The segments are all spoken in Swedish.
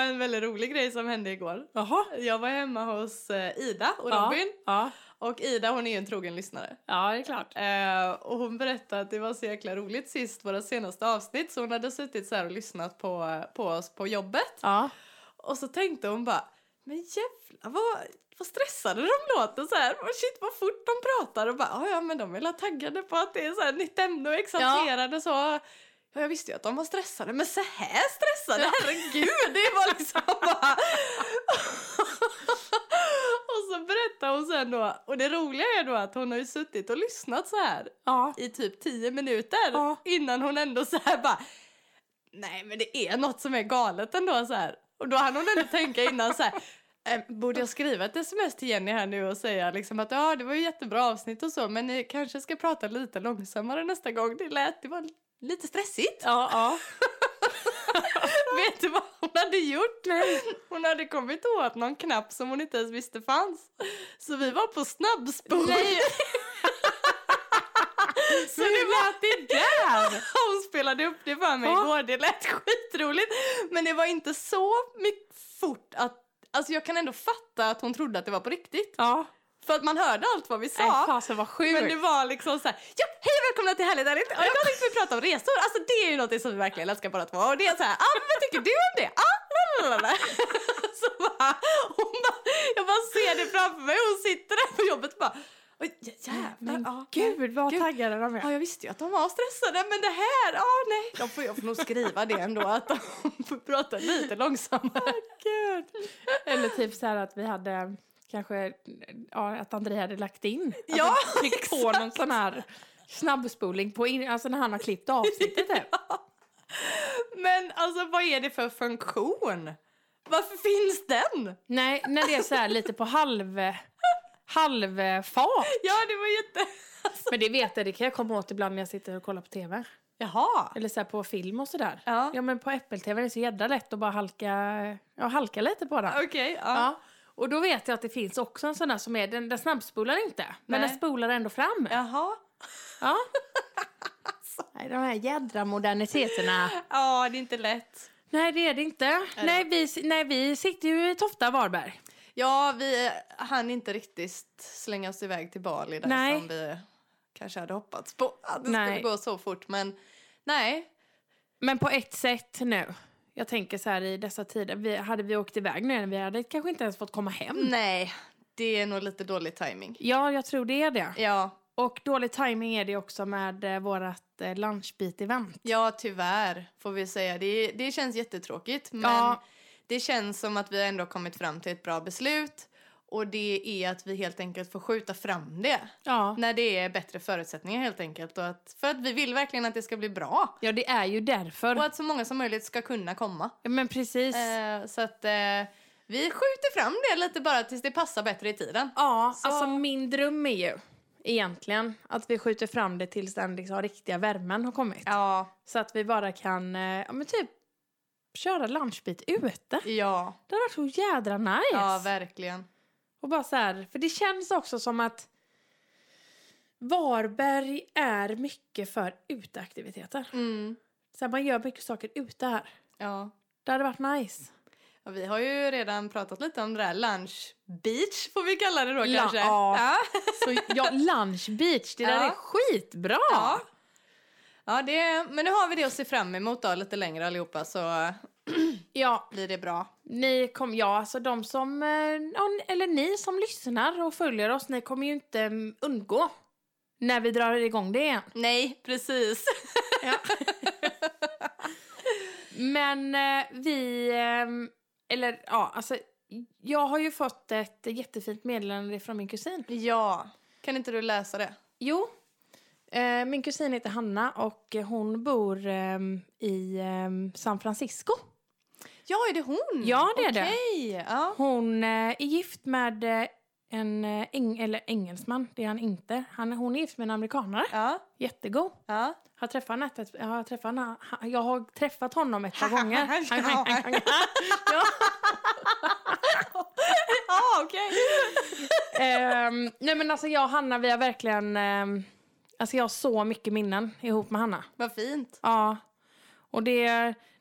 en väldigt rolig grej som hände igår. Jaha. Jag var hemma hos eh, Ida och Ja. Robin. Ja. Och Ida hon är ju en trogen lyssnare. ja, det är klart. Eh, och hon berättade att det var så jäkla roligt sist, våra senaste avsnitt. Så hon hade suttit så här och lyssnat på, eh, på oss på jobbet. Ja. Och så tänkte hon bara, men jävlar vad, vad stressade de låter så här. Och shit vad fort de pratar. Och bara, "Ja, ja men de är väl taggade på att det är så här nytt ämne och exalterade så. Ja, jag visste ju att de var stressade, men så här stressade, herregud, det var liksom bara... och så berättar hon sen då, och det roliga är då att hon har ju suttit och lyssnat så här Ja. i typ 10 minuter Ja. innan hon ändå så här bara nej men det är något som är galet ändå så här och då hann hon ändå tänka innan så här "Eh, Borde jag skriva ett sms till Jenny här nu och säga liksom att ja, det var ju jättebra avsnitt och så men ni kanske ska prata lite långsammare nästa gång. Det lät, det var lite stressigt. Ja, ja. Vet du vad hon hade gjort? Hon hade kommit åt någon knapp som hon inte ens visste fanns. Så vi var på snabbspol. Nej. Så det lät det där! Hon spelade upp det för mig Ja. igår, det lät skitroligt. Men det var inte så mycket fort att... Alltså jag kan ändå fatta att hon trodde att det var på riktigt. ja. För att man hörde allt vad vi sa. Nej, fasen vad sjukt. Men det var liksom så här, ja, hej och välkomna till Härligt ärligt. Och idag tänkte vi prata om resor. Alltså det är ju något som vi verkligen älskar båda två. Och det är så här, ah, men vad tycker du om det? Ah, lalalala. så bara, hon bara, jag bara ser det framför mig. Hon sitter där på jobbet och bara, oj jä- jävlar. Men ja, gud vad Gud. taggade de Ja, är. jag visste ju att de var stressade, men det här, ja ah, nej. De får, jag får nog skriva det ändå, att de får prata lite långsammare. Gud. Eller typ så här att vi hade kanske, ja att André hade lagt in. Att Ja, vi tryckt på någon sån här snabbspoling på, in, alltså när han har klippt avsnittet typ. Men alltså, vad är det för funktion? Varför finns den? Nej, när det är så här lite på halv, halvfart. Ja, det var jätte... Men det vet jag, det kan jag komma åt ibland när jag sitter och kollar på tv. Jaha. Eller så här på film och sådär. Ja. ja men på Apple-tv är det så jädra lätt att bara halka, ja, halka lite på den. Okej, ja. Ja. Och då vet jag att det finns också en sån där som är, den, den snabbspolar inte, men Nej. den spolar ändå fram. Ja. Jaha. Nej, de här jädra moderniteterna. Ja, det är inte lätt. nej, det är det inte. Nej, vi, nej, vi sitter ju i Tofta Varberg. Ja, vi eh, hann inte riktigt slänga oss iväg till Bali där Nej. som vi kanske hade hoppats på. Att det Nej. skulle gå så fort, men nej. Men på ett sätt nu. Jag tänker så här i dessa tider, vi, hade vi åkt iväg nu, vi hade kanske inte ens fått komma Mm. hem. Nej, det är nog lite dålig timing. Ja, jag tror det är det. Ja, Och dålig timing är det också med eh, vårat eh, lunchbit-event. ja tyvärr får vi säga. Det, det känns jättetråkigt, men Ja. det känns som att vi ändå har kommit fram till ett bra beslut. Och det är att vi helt enkelt får skjuta fram det. Ja. När det är bättre förutsättningar helt enkelt. Och att, för att vi vill verkligen att det ska bli bra. ja, det är ju därför. Och att så många som möjligt ska kunna komma. Ja, Men precis. Eh, så att eh, vi skjuter fram det lite bara tills det passar bättre i tiden. Ja, Så- alltså min dröm är ju egentligen att vi skjuter fram det tills den liksom, riktiga värmen har kommit. Ja. Så att vi bara kan, eh, ja men typ köra lunchbit ute. Ja, Det har varit så jädra nice. ja verkligen. och bara så här, för det känns också som att Varberg är mycket för uteaktiviteter. Mm. Så här, man gör mycket saker ute här. Ja. Det hade varit nice. Ja, vi har ju redan pratat lite om det där lunch beach får vi kalla det då La- kanske. ja. Ja. Så ja, lunch beach, det där Ja. är skitbra! ja. Ja, det, men nu har vi det att se fram emot då, lite längre allihopa så eh, ja blir det bra. Ni kom, ja, alltså de som, eh, ja, eller ni som lyssnar och följer oss, ni kommer ju inte mm, undgå när vi drar igång det igen. Nej, precis. Men eh, vi, eh, eller ja, alltså jag har ju fått ett jättefint meddelande från min kusin. Ja, kan inte du läsa det? Jo, eh, min kusin heter Hanna och hon bor eh, i eh, San Francisco. Ja, är det hon? Ja, det är det. Okej, ja. Hon eh, är gift med eh, en eh, eng- eller engelsman, det är han inte. Han, hon är gift med en amerikanare. Ja, Jättegod. ja. Har träffat honom ett, ett, jag, har träffat honom, ha- jag har träffat honom ett par gånger. ja. Ja, Ah, okej. Ehm, nej men alltså jag och Hanna vi har verkligen, ehm, alltså jag har så mycket minnen ihop med Hanna. Vad fint. Ja. Och det,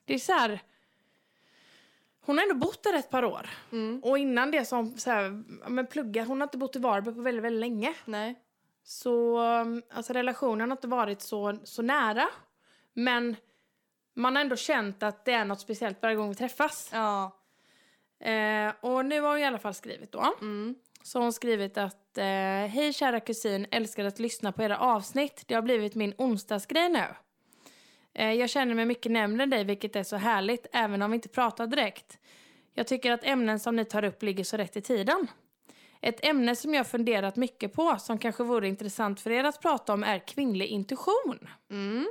det är så här, Hon har ändå bott där ett par år. Mm. Och innan det så har hon så här, ja, men plugga. Hon har inte bott i Varberg på väldigt, väldigt länge. Nej. Så um, alltså, relationen har inte varit så, så nära. Men man har ändå känt att det är något speciellt varje gång vi träffas. Ja. Eh, och nu har hon i alla fall skrivit då. Mm. Så har hon skrivit att eh, Hej kära kusin, älskar att lyssna på era avsnitt. Det har blivit min onsdagsgrej nu. Eh, jag känner mig mycket närmare dig vilket är så härligt även om vi inte pratar direkt. Jag tycker att ämnen som ni tar upp ligger så rätt i tiden. Ett ämne som jag funderat mycket på som kanske vore intressant för er att prata om är kvinnlig intuition. Mm.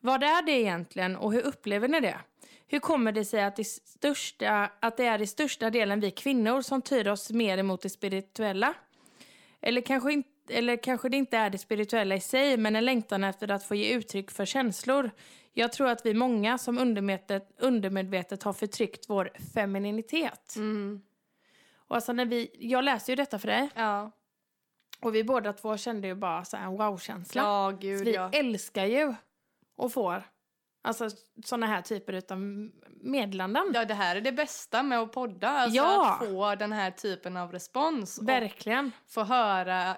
Vad är det egentligen och hur upplever ni det? Hur kommer det sig att, det största, att det är i största delen vi kvinnor som tyr oss mer emot det spirituella? Eller kanske, in, eller kanske det inte är det spirituella i sig, men en längtan efter att få ge uttryck för känslor. Jag tror att vi många som undermedvetet, undermedvetet har förtryckt vår femininitet. Mm. Och alltså när vi, jag läste ju detta för dig Ja. och vi båda två kände ju bara så här en wow-känsla. Ja, Så gud vi ja. älskar ju och får alltså såna här typer utav meddelanden. Ja, det här är det bästa med att podda. Alltså Ja. att få den här typen av respons. Och Verkligen. få höra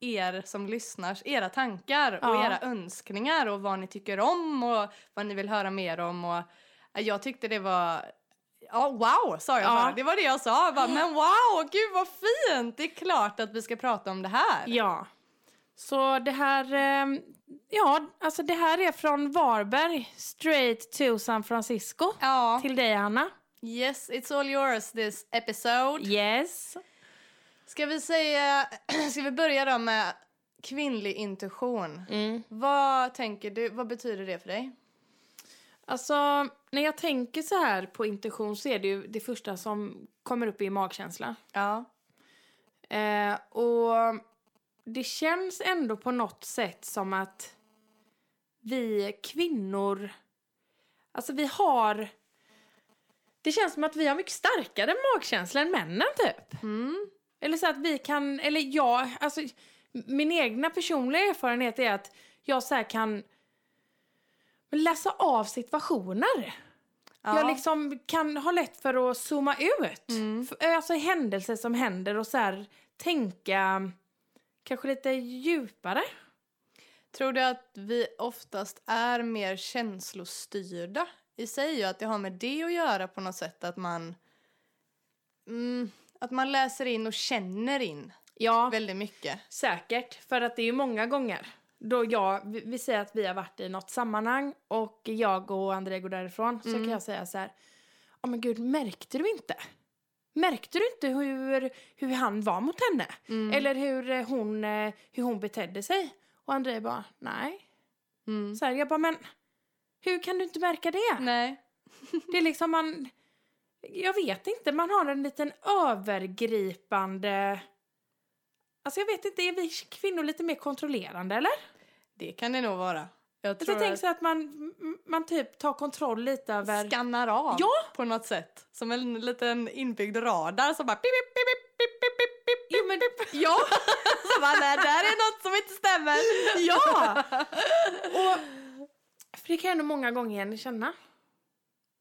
er som lyssnar, era tankar och Ja. era önskningar och vad ni tycker om och vad ni vill höra mer om. Och eh, jag tyckte det var... Ja, wow, sa jag Ja. bara. Det var det jag sa. Jag bara, men wow, gud vad fint! Det är klart att vi ska prata om det här. Ja. Så det här, eh, ja, alltså det här är från Varberg, straight to San Francisco. Ja. Till dig Hanna. Yes, it's all yours this episode. Yes. Ska vi säga... Ska vi börja då med kvinnlig intuition? Mm. Vad tänker du, vad betyder det för dig? Alltså, när jag tänker så här på intuition så är det ju det första som kommer upp i magkänsla. Ja. Eh, och det känns ändå på något sätt som att vi kvinnor... Alltså vi har... Det känns som att vi har mycket starkare magkänsla än männen typ. Mm. Eller så att vi kan... Eller jag... Alltså min egna personliga erfarenhet är att jag så här kan läsa av situationer. Ja. Jag liksom kan ha lätt för att zooma ut. Mm. F- Alltså händelser som händer och så här tänka kanske lite djupare. Tror du att vi oftast är mer känslostyrda i sig och att det har med det att göra på något sätt att man mm, att man läser in och känner in Ja, väldigt mycket. säkert. För att det är ju många gånger då jag, vi, vi säger att vi har varit i något sammanhang och jag och André går därifrån så Mm. kan jag säga så här, ja men gud märkte du inte? Märkte du inte hur, hur han var mot henne? Mm. Eller hur eh, hon, eh, hur hon betedde sig? Och André bara, nej. Mm. Så här, jag bara, men hur kan du inte märka det? Nej. Det är liksom man... Jag vet inte, man har en liten övergripande... Alltså jag vet inte, är vi kvinnor lite mer kontrollerande eller? Alltså Det kan det nog vara. Jag Jag tror tänker att så att man, m- man typ tar kontroll lite över... skannar av Ja! på något sätt. Som en liten inbyggd radar som bara pip, pip, pip, pip, pip, pip, pip, pip. Jo men Ja! så bara, nej, där är något som inte stämmer. ja! Och, för det kan jag ändå många gånger känna.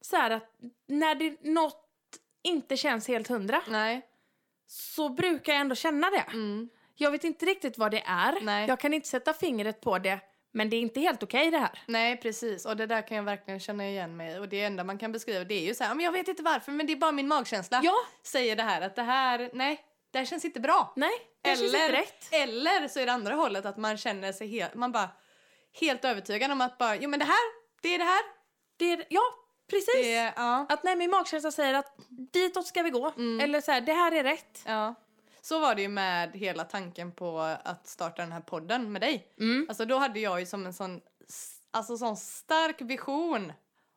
Så här att när det, något inte känns helt hundra Nej. så brukar jag ändå känna det. Mm. Jag vet inte riktigt vad det är. Nej. Jag kan inte sätta fingret på det. Men det är inte helt okej det här. Nej, precis. Och det där kan jag verkligen känna igen mig i. Och det enda man kan beskriva det är ju så här, men jag vet inte varför, men det är bara min magkänsla. Ja, Säger det här att det här, nej, det här känns inte bra. nej. Det Eller... känns Eller- inte rätt. Eller så är det andra hållet att man känner sig helt, man bara helt övertygad om att bara, jo men det här, det är det här. Det är... Ja, precis. Det är, ja, Att nej, min magkänsla säger att ditåt ska vi gå. Mm. Eller så här, det här är rätt. ja. Så var det ju med hela tanken på att starta den här podden med dig. Mm. Alltså då hade jag ju som en sån, alltså sån stark vision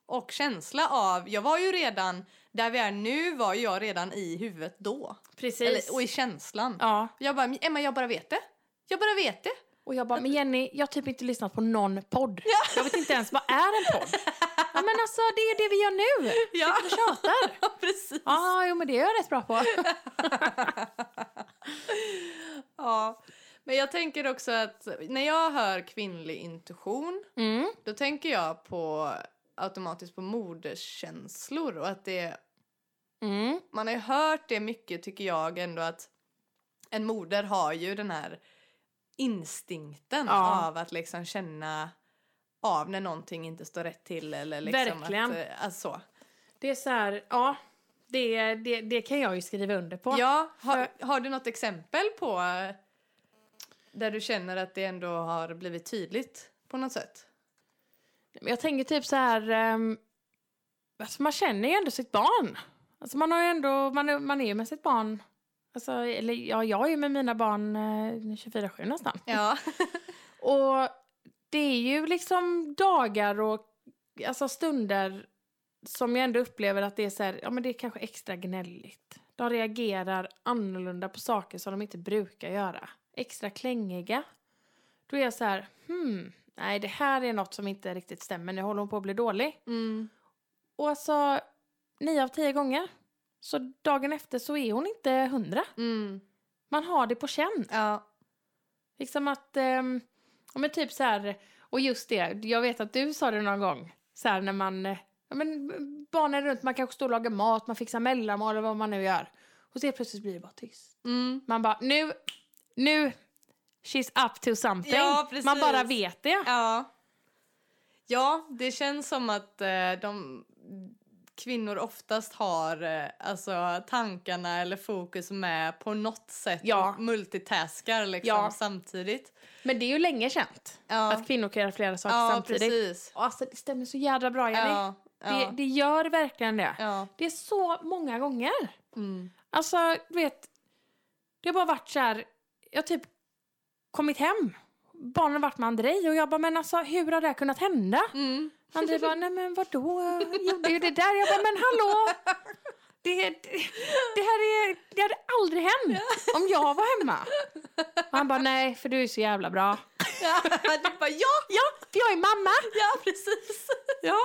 och känsla av, jag var ju redan, där vi är nu var ju jag redan i huvudet då. Precis. Eller, och i känslan. Ja. Jag bara, Emma jag bara vet det. Jag bara vet det. Och jag bara, men Jenny, jag har typ inte lyssnat på någon podd. Jag vet inte ens vad är en podd. Ja, men alltså det är det vi gör nu. Ja, Vi tjatar. precis. Ja, jo men det är jag rätt bra på. Ja. Men jag tänker också att när jag hör kvinnlig intuition Mm. då tänker jag på automatiskt på moderskänslor och att det Mm. Man har ju hört det mycket tycker jag ändå att en moder har ju den här instinkten Ja. av att liksom känna av när någonting inte står rätt till eller liksom Verkligen. att, eh, alltså. så. Det är så här, ja. Det, det, det kan jag ju skriva under på. Ja, har, har du något exempel på eh, där du känner att det ändå har blivit tydligt på något sätt? Jag tänker typ så här... ehm, alltså man känner ju ändå sitt barn. Alltså man, har ju ändå, man, är- man är ju med sitt barn. Alltså, eller ja, jag är ju med mina barn eh, 24-7 nästan. Ja. Och det är ju liksom dagar och alltså stunder som jag ändå upplever att det är så här, ja men det är kanske extra gnälligt. De reagerar annorlunda på saker som de inte brukar göra. Extra klängiga. Då är jag så här, hmm, nej det här är något som inte riktigt stämmer, nu håller hon på att bli dålig. Mm. Och alltså, nio av tio gånger. Så dagen efter så är hon inte hundra. Mm. Man har det på känn. Ja. Liksom att, ehm, ja men typ så här, och just det, jag vet att du sa det någon gång, så här när man, eh, ja men barnen är runt, man kanske står och lagar mat, man fixar mellanmål eller vad man nu gör. Och så helt plötsligt blir det bara tyst. Mm. Man bara, nu, nu, she's up to something. Ja, precis. man bara vet det. Ja. Ja, det känns som att eh, de kvinnor oftast har eh, alltså, tankarna eller fokus med på något sätt Ja. och multitaskar liksom Ja. samtidigt. Men det är ju länge känt Ja, att kvinnor kan göra flera saker ja samtidigt. precis. Och Alltså det stämmer så jädra bra Jenny. Ja, Det, ja, det gör verkligen det. ja. Det är så många gånger. Mm. Alltså, du vet. Det har bara varit så här. Jag har typ kommit hem. Barnen har varit med Andrei och jag bara, men alltså hur har det här kunnat hända? Mm. Andrei bara, nej men vadå? Jag gjorde ju det där. Jag bara, men hallå! Det, det, det här är, det hade aldrig hänt om jag var hemma. Och han bara, nej för du är så jävla bra. Ja, du bara ja, Ja, för jag är mamma! ja precis. Ja.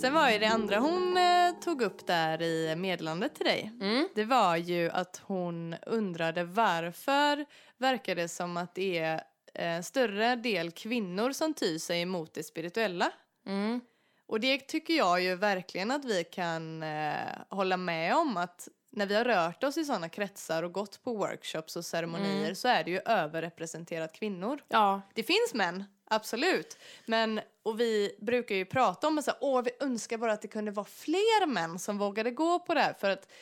Sen var ju det andra hon eh, tog upp där i meddelandet till dig. Mm. Det var ju att hon undrade varför verkar det som att det är eh, större del kvinnor som tyr sig emot det spirituella. Mm. Och det tycker jag ju verkligen att vi kan eh, hålla med om att när vi har rört oss i sådana kretsar och gått på workshops och ceremonier Mm. så är det ju överrepresenterat kvinnor. Ja. Det finns män, absolut. Men, och vi brukar ju prata om att så här, Åh, vi önskar bara att det kunde vara fler män som vågade gå på det här. För att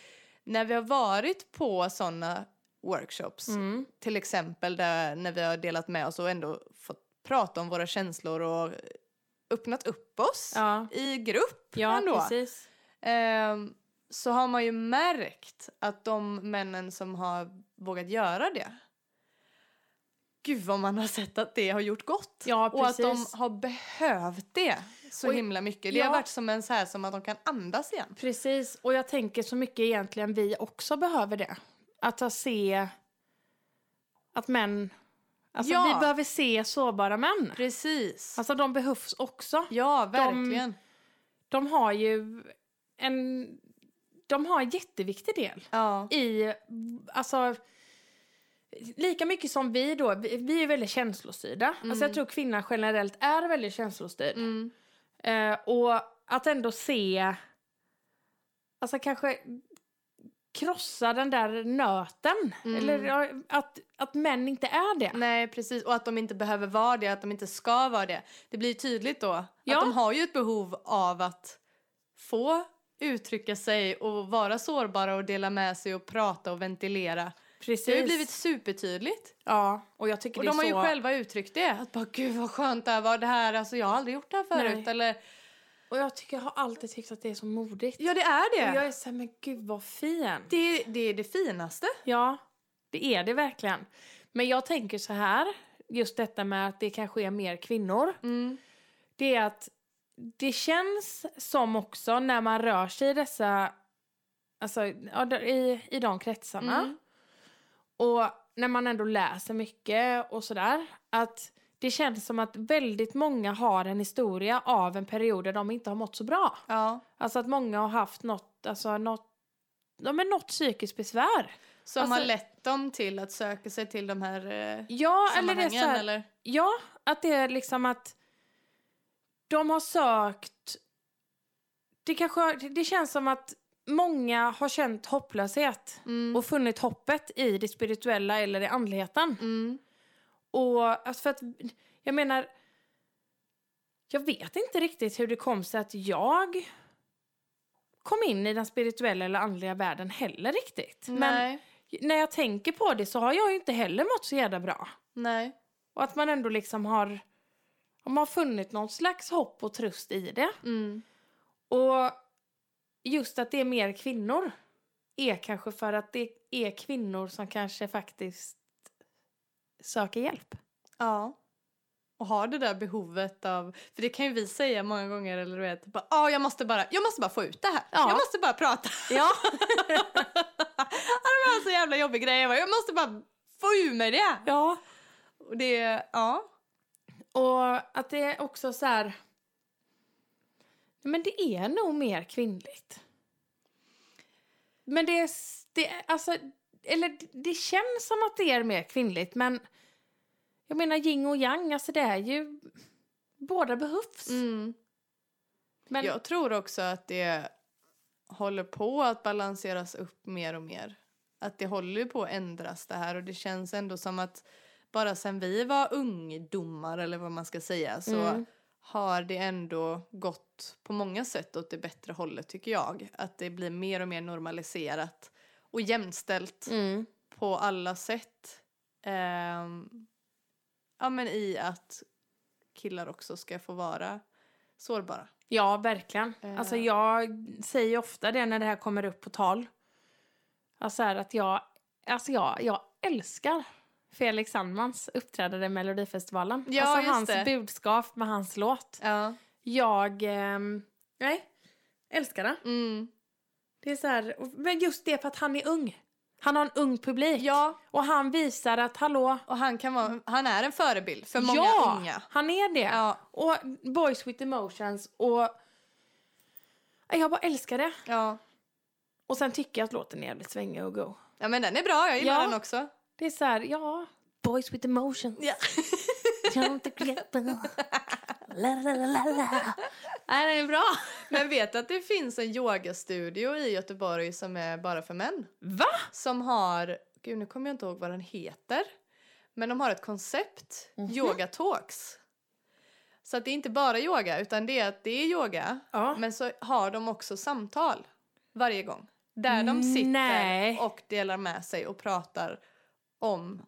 när vi har varit på sådana workshops, Mm. till exempel där, när vi har delat med oss och ändå fått prata om våra känslor och öppnat upp oss Ja. i grupp Ja, ändå. precis. Ehm, så har man ju märkt att de männen som har vågat göra det Gud vad man har sett att det har gjort gott. Ja, och att de precis. har behövt det så Och- himla mycket. Det ja. har varit som en så här som att de kan andas igen. Precis, och jag tänker så mycket egentligen vi också behöver det. Att att se att män, alltså Ja. vi behöver se sårbara män. Precis. Alltså de behövs också. ja, verkligen. De har ju en, de har en jätteviktig del Ja. i, alltså Lika mycket som vi då, vi, vi är väldigt känslostyrda. Alltså jag tror kvinnan generellt är väldigt känslostyrd. Mm. Eh, och att ändå se... Alltså kanske krossa den där nöten. Mm. Eller ja, att, att män inte är det. Nej, precis. Och att de inte behöver vara det, att de inte ska vara det. Det blir ju tydligt då Ja. att de har ju ett behov av att få uttrycka sig och vara sårbara och dela med sig och prata och ventilera. Precis. Det har ju blivit supertydligt. Ja, och jag tycker Och det är de har så... ju själva uttryckt det. Att bara, gud vad skönt det här var. Det här, alltså jag har aldrig gjort det här förut. Nej. Eller, Och jag tycker jag har alltid tyckt att det är så modigt. ja det är Och jag det. är såhär, men gud vad fin. Det, det är det finaste. Ja, det är det verkligen. Men jag tänker så här, just detta med att det kanske är mer kvinnor. Mm. det är att det känns som också när man rör sig i dessa, alltså ja, där- i, i de kretsarna Mm. och när man ändå läser mycket och sådär, att det känns som att väldigt många har en historia av en period där de inte har mått så bra. Ja. Alltså att många har haft något, alltså något, ja, men något psykiskt besvär. Som Alltså- har lett dem till att söka sig till de här eh, Ja, eller det sammanhangen? är så här, eller? Ja, att det är liksom att de har sökt... Det, kanske, det känns som att många har känt hopplöshet Mm. och funnit hoppet i det spirituella eller i andligheten. Mm. Och alltså för att, jag menar, jag vet inte riktigt hur det kom sig att jag kom in i den spirituella eller andliga världen heller riktigt. Men Nej. när jag tänker på det så har jag ju inte heller mått så jävla bra. Nej. Och att man ändå liksom har, om man har funnit någon slags hopp och tröst i det. Mm. Och just att det är mer kvinnor är kanske för att det är kvinnor som kanske faktiskt söker hjälp. Ja. Och har det där behovet av... För det kan ju vi säga många gånger. Eller du vet, bara, ah, jag, måste bara, jag måste bara få ut det här. Ja. Jag måste bara prata. Ja, Ja, det var en så jävla jobbig grej. Jag, bara, jag måste bara få ur mig det. ja. Och det, ja. Och att det är också så här... Nej, Men det är nog mer kvinnligt. Men det är... s- Det, är- alltså, eller det känns som att det är mer kvinnligt, men... Jag menar yin och yang, alltså det är ju... Båda behövs. Mm. Men, Jag tror också att det håller på att balanseras upp mer och mer. Att det håller ju på att ändras det här och det känns ändå som att bara sen vi var ungdomar eller vad man ska säga så Mm. har det ändå gått på många sätt åt det bättre hållet tycker jag. Att det blir mer och mer normaliserat och jämställt Mm. på alla sätt. Ehm, ja men i att killar också ska få vara sårbara. Ja, verkligen. Eh. Alltså jag säger ju ofta det när det här kommer upp på tal. Alltså här att jag, alltså jag, jag älskar Felix Sandmans uppträdande i Melodifestivalen. Ja, alltså just hans det. budskap med hans låt. Ja. Jag, ehm, nej, älskar det. Mm. Det är så här, och- men just det för att han är ung. Han har en ung publik. Ja, Och han visar att, hallå, och han, kan vara, han är en förebild för många ja, unga. han är det. Ja, Och Boys with Emotions och... Jag bara älskar det. ja. Och sen tycker jag att låten är jävligt svängig och go. ja, men den är bra. Jag gillar Ja. den också. Det är så här, ja... Boys with emotions. Ja. Don't forget them. La, la, la, la, la. Nej, den är bra. Men vet du att det finns en yogastudio i Göteborg som är bara för män? Va? Som har, gud nu kommer jag inte ihåg vad den heter. Men de har ett koncept, Mhm. yoga talks. Så att det är inte bara yoga utan det är att det är yoga. Ja. Men så har de också samtal varje gång. Där de sitter Nej. och delar med sig och pratar om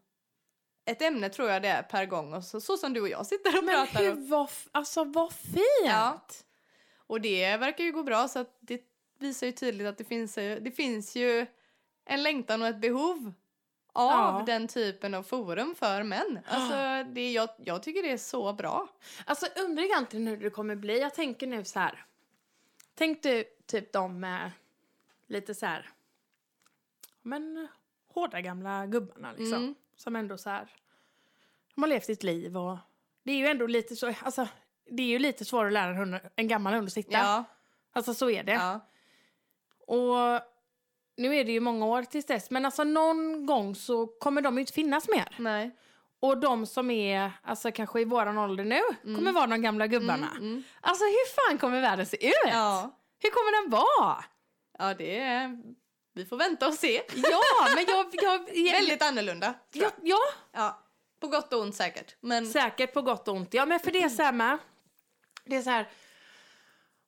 ett ämne tror jag det är per gång. Och så, så som du och jag sitter och Men pratar. hur, om. vad, f- alltså vad fint! Ja. Och det verkar ju gå bra så att det visar ju tydligt att det finns, eh, det finns ju en längtan och ett behov av Ja. den typen av forum för män. Alltså, det, jag, jag tycker det är så bra. Alltså undrar egentligen hur det kommer bli. Jag tänker nu så här. Tänk du typ de eh, lite så här. Men hårda gamla gubbarna liksom. Mm. Som ändå så här. De har levt sitt liv och det är ju ändå lite så. Alltså det är ju lite svårare att lära en, hund, en gammal hund att sitta. Ja. Alltså så är det. Ja. Och nu är det ju många år tills dess. Men alltså någon gång så kommer de ju inte finnas mer. Nej. Och de som är alltså kanske i våran ålder nu kommer vara de gamla gubbarna. Mm, mm. Alltså hur fan kommer världen se ut? Ja. Hur kommer den vara? ja, det är... Vi får vänta och se. Ja, men jag... jag, Väldigt annorlunda. tror jag jag. ja, Ja. På gott och ont säkert. Men säkert på gott och ont. Ja, men för det är så här med. Det är så här...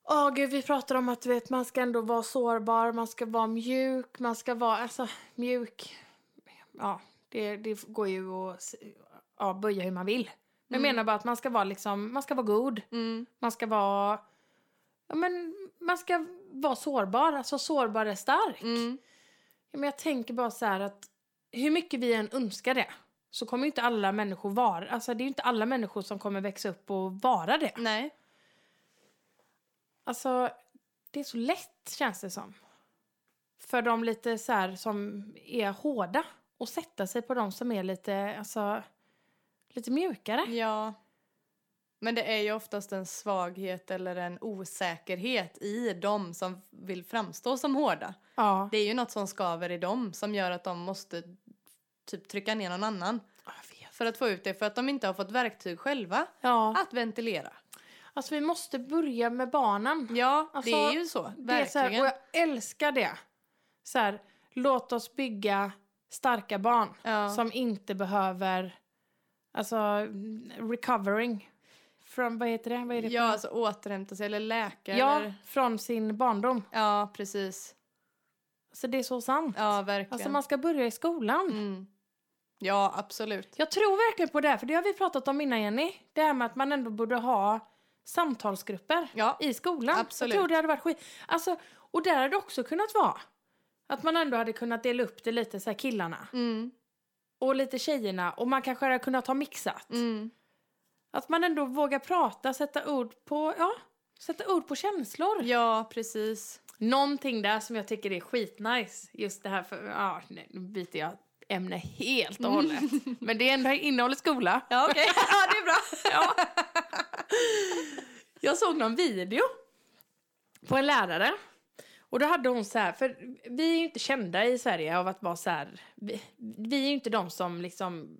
Åh gud, vi pratar om att du vet, man ska ändå vara sårbar, man ska vara mjuk, man ska vara... Alltså, mjuk... Ja, det, det går ju att s- ja, böja hur man vill. Men jag menar bara att man ska vara liksom, man ska vara god. mm, Man ska vara... Ja, men man ska vara sårbar. Alltså sårbar är stark. mm, Ja, men jag tänker bara så här att hur mycket vi än önskar det så kommer ju inte alla människor vara, alltså det är ju inte alla människor som kommer växa upp och vara det. nej. Alltså det är så lätt känns det som. För de lite så här som är hårda och sätta sig på de som är lite, alltså lite mjukare. Ja. Men det är ju oftast en svaghet eller en osäkerhet i dem som vill framstå som hårda. Ja. Det är ju något som skaver i dem som gör att de måste typ trycka ner någon annan för att få ut det för att de inte har fått verktyg själva Ja, att ventilera. alltså vi måste börja med barnen. Ja, Alltså, det är ju så. Det är så här, Verkligen. och jag älskar det. Så här, låt oss bygga starka barn Ja. som inte behöver alltså recovering. Från, vad heter det? Vad är det? ja, alltså återhämta sig eller läka. ja Eller... från sin barndom. ja, precis. Så det är så sant. Ja, verkligen. alltså man ska börja i skolan. mm. Ja, absolut. Jag tror verkligen på det här, för det har vi pratat om innan Jenny. Det här med att man ändå borde ha samtalsgrupper Ja, i skolan. Absolut. Jag tror det hade varit skit. Alltså, och där hade det också kunnat vara. Att man ändå hade kunnat dela upp det lite så här killarna mm. och lite tjejerna och man kanske hade kunnat ha mixat. Mm. Att man ändå vågar prata, sätta ord på, ja, sätta ord på känslor. ja precis. Någonting där som jag tycker är skitnice. Just det här för, ja, nej, nu byter jag ämne helt och hållet. Men det är ändå innehållet skola. Ja, okej. ja, det är bra. Ja. Jag såg någon video på en lärare. Och då hade hon så här, för vi är ju inte kända i Sverige av att vara så här, vi, vi är ju inte de som liksom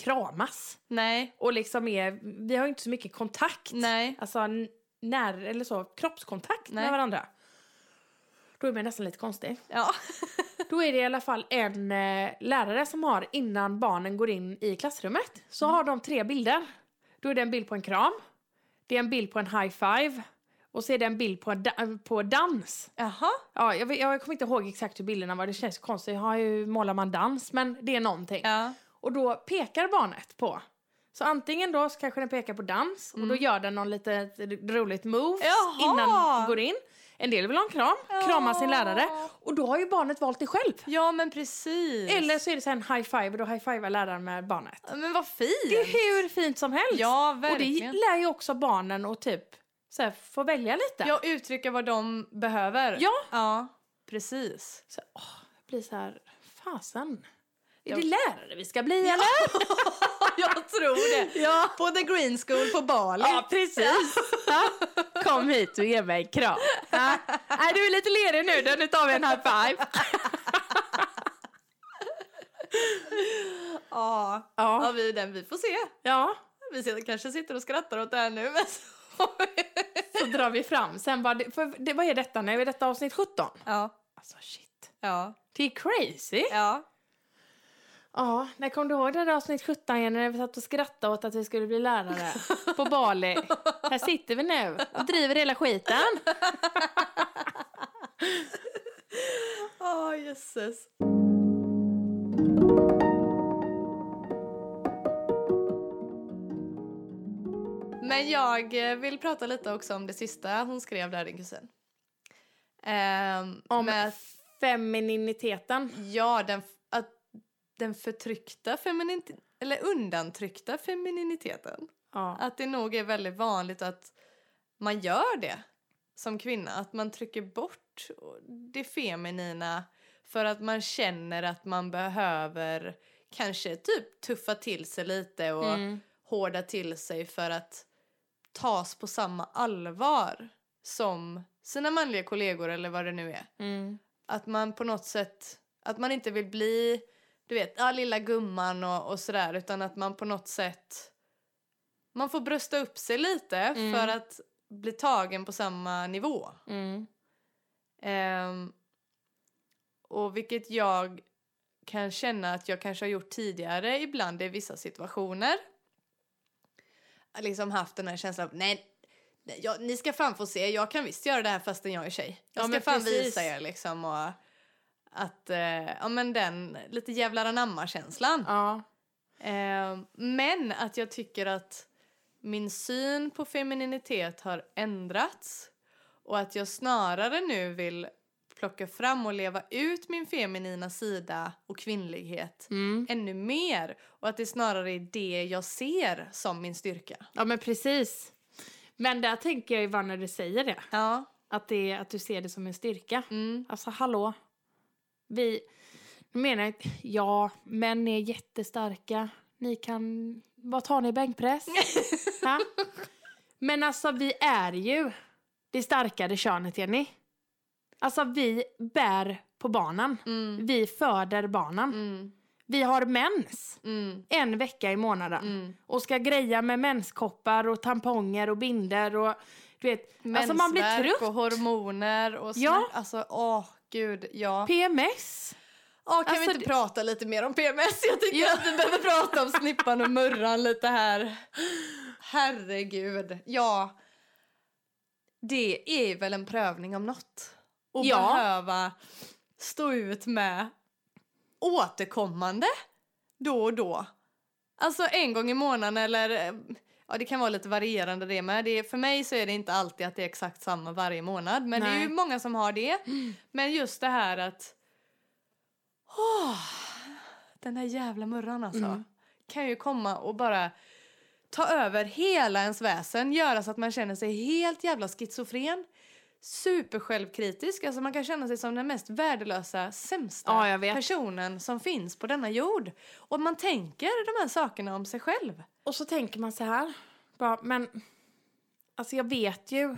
kramas. Nej, Och liksom är, vi har ju inte så mycket kontakt. nej. Alltså n- när, eller så, kroppskontakt Nej. med varandra. Då är man nästan lite konstig. Ja. Då är det i alla fall en eh, lärare som har innan barnen går in i klassrummet så har de tre bilder. Då är det en bild på en kram, det är en bild på en high five och så är det en bild på, en da- på dans. Jaha. Ja, jag, vet- jag kommer inte ihåg exakt hur bilderna var, det känns ju konstigt. Jag har ju målar man dans men det är någonting. Ja. Och då pekar barnet på. Så antingen då så kanske den pekar på dans och då gör den någon lite r- roligt moves Mm. Jaha. innan den går in. En del vill ha en kram, krama sin Ja. lärare och då har ju barnet valt det själv. ja, men precis. Eller så är det så här en high five och då high fivar läraren med barnet. Men vad fint. Det är hur fint som helst. Ja, och det verkligen. lär ju också barnen att typ så här, få välja lite. Jag uttrycker vad de behöver. Ja. Ja, precis. Så, åh, jag blir så här, fasen. Är Jag- det lärare vi ska bli eller? Jag tror det. Ja, På the green school på Bali. ja precis. Ja. Kom hit och ge mig en kram. Ja. Nej, du är lite lerig nu, då. nu tar vi en high five. Ja. Ja, Ja, vi, den, vi får se. ja. Vi sitter, kanske sitter och skrattar åt det här nu. Men så... så drar vi fram. Sen bara, det- för, det, vad är detta nu? Är detta avsnitt 17? ja, Alltså shit, ja, det är crazy. ja. Ja, när kom du ihåg det där avsnitt 17 igen när vi satt och skrattade åt att vi skulle bli lärare på Bali? Här sitter vi nu och driver hela skiten. Åh, jösses. Men jag eh, vill prata lite också om det sista hon skrev där, din kusin. Ehm, Om med, femininiteten. ja, den, f- att den förtryckta feminint eller undantryckta femininiteten. Ja. Att det nog är väldigt vanligt att man gör det som kvinna. Att man trycker bort det feminina för att man känner att man behöver kanske typ tuffa till sig lite och Mm. hårda till sig för att tas på samma allvar som sina manliga kollegor eller vad det nu är. Mm. Att man på något sätt, att man inte vill bli, du vet, ja, lilla gumman och, och sådär, utan att man på något sätt, man får brösta upp sig lite Mm. för att bli tagen på samma nivå. Mm. Ehm, och vilket jag kan känna att jag kanske har gjort tidigare ibland i vissa situationer. Jag har liksom haft den här känslan av nej, nej jag, ni ska fan få se, jag kan visst göra det här fastän jag är tjej. Ja, Jag ska men fan precis. visa er liksom och att, eh, ja men den lite jävlar anamma-känslan. Ja. Ehm, men att jag tycker att min syn på femininitet har ändrats och att jag snarare nu vill plocka fram och leva ut min feminina sida och kvinnlighet Mm. ännu mer och att det snarare är det jag ser som min styrka. ja, men precis. Men där tänker jag ju bara när du säger det. Ja. Att, det att du ser det som en styrka. Mm. Alltså hallå. Vi, nu menar jag inte- ja, män är jättestarka. Ni kan Vad tar ni bänkpress? Ha? Men alltså vi är ju det starkare könet Jenny. Alltså vi bär på barnen. Mm. Vi föder barnen. Mm. Vi har mens Mm. en vecka i månaden. Mm. Och ska greja med menskoppar och tamponger och binder och du vet. Alltså man blir Mensvärk trött. och hormoner och sånt. Ja. Alltså, åh gud, ja. PMS. Åh, kan Alltså, vi inte det- prata lite mer om PMS? Jag tycker Ja. att vi behöver prata om snippan och murran lite här. Herregud. Ja. Det är väl en prövning om något. Att Ja. behöva stå ut med återkommande då och då. Alltså en gång i månaden eller eh, ja det kan vara lite varierande det med. Det är, för mig så är det inte alltid att det är exakt samma varje månad men det är ju Nej. Mm. många som har det. Men just det här att åh, den här jävla murran alltså Mm. kan ju komma och bara ta över hela ens väsen, göra så att man känner sig helt jävla schizofren. Super självkritisk, alltså man kan känna sig som den mest värdelösa, sämsta Ja, jag vet. personen som finns på denna jord. Och man tänker de här sakerna om sig själv. Och så tänker man så här. Bara, men alltså jag vet ju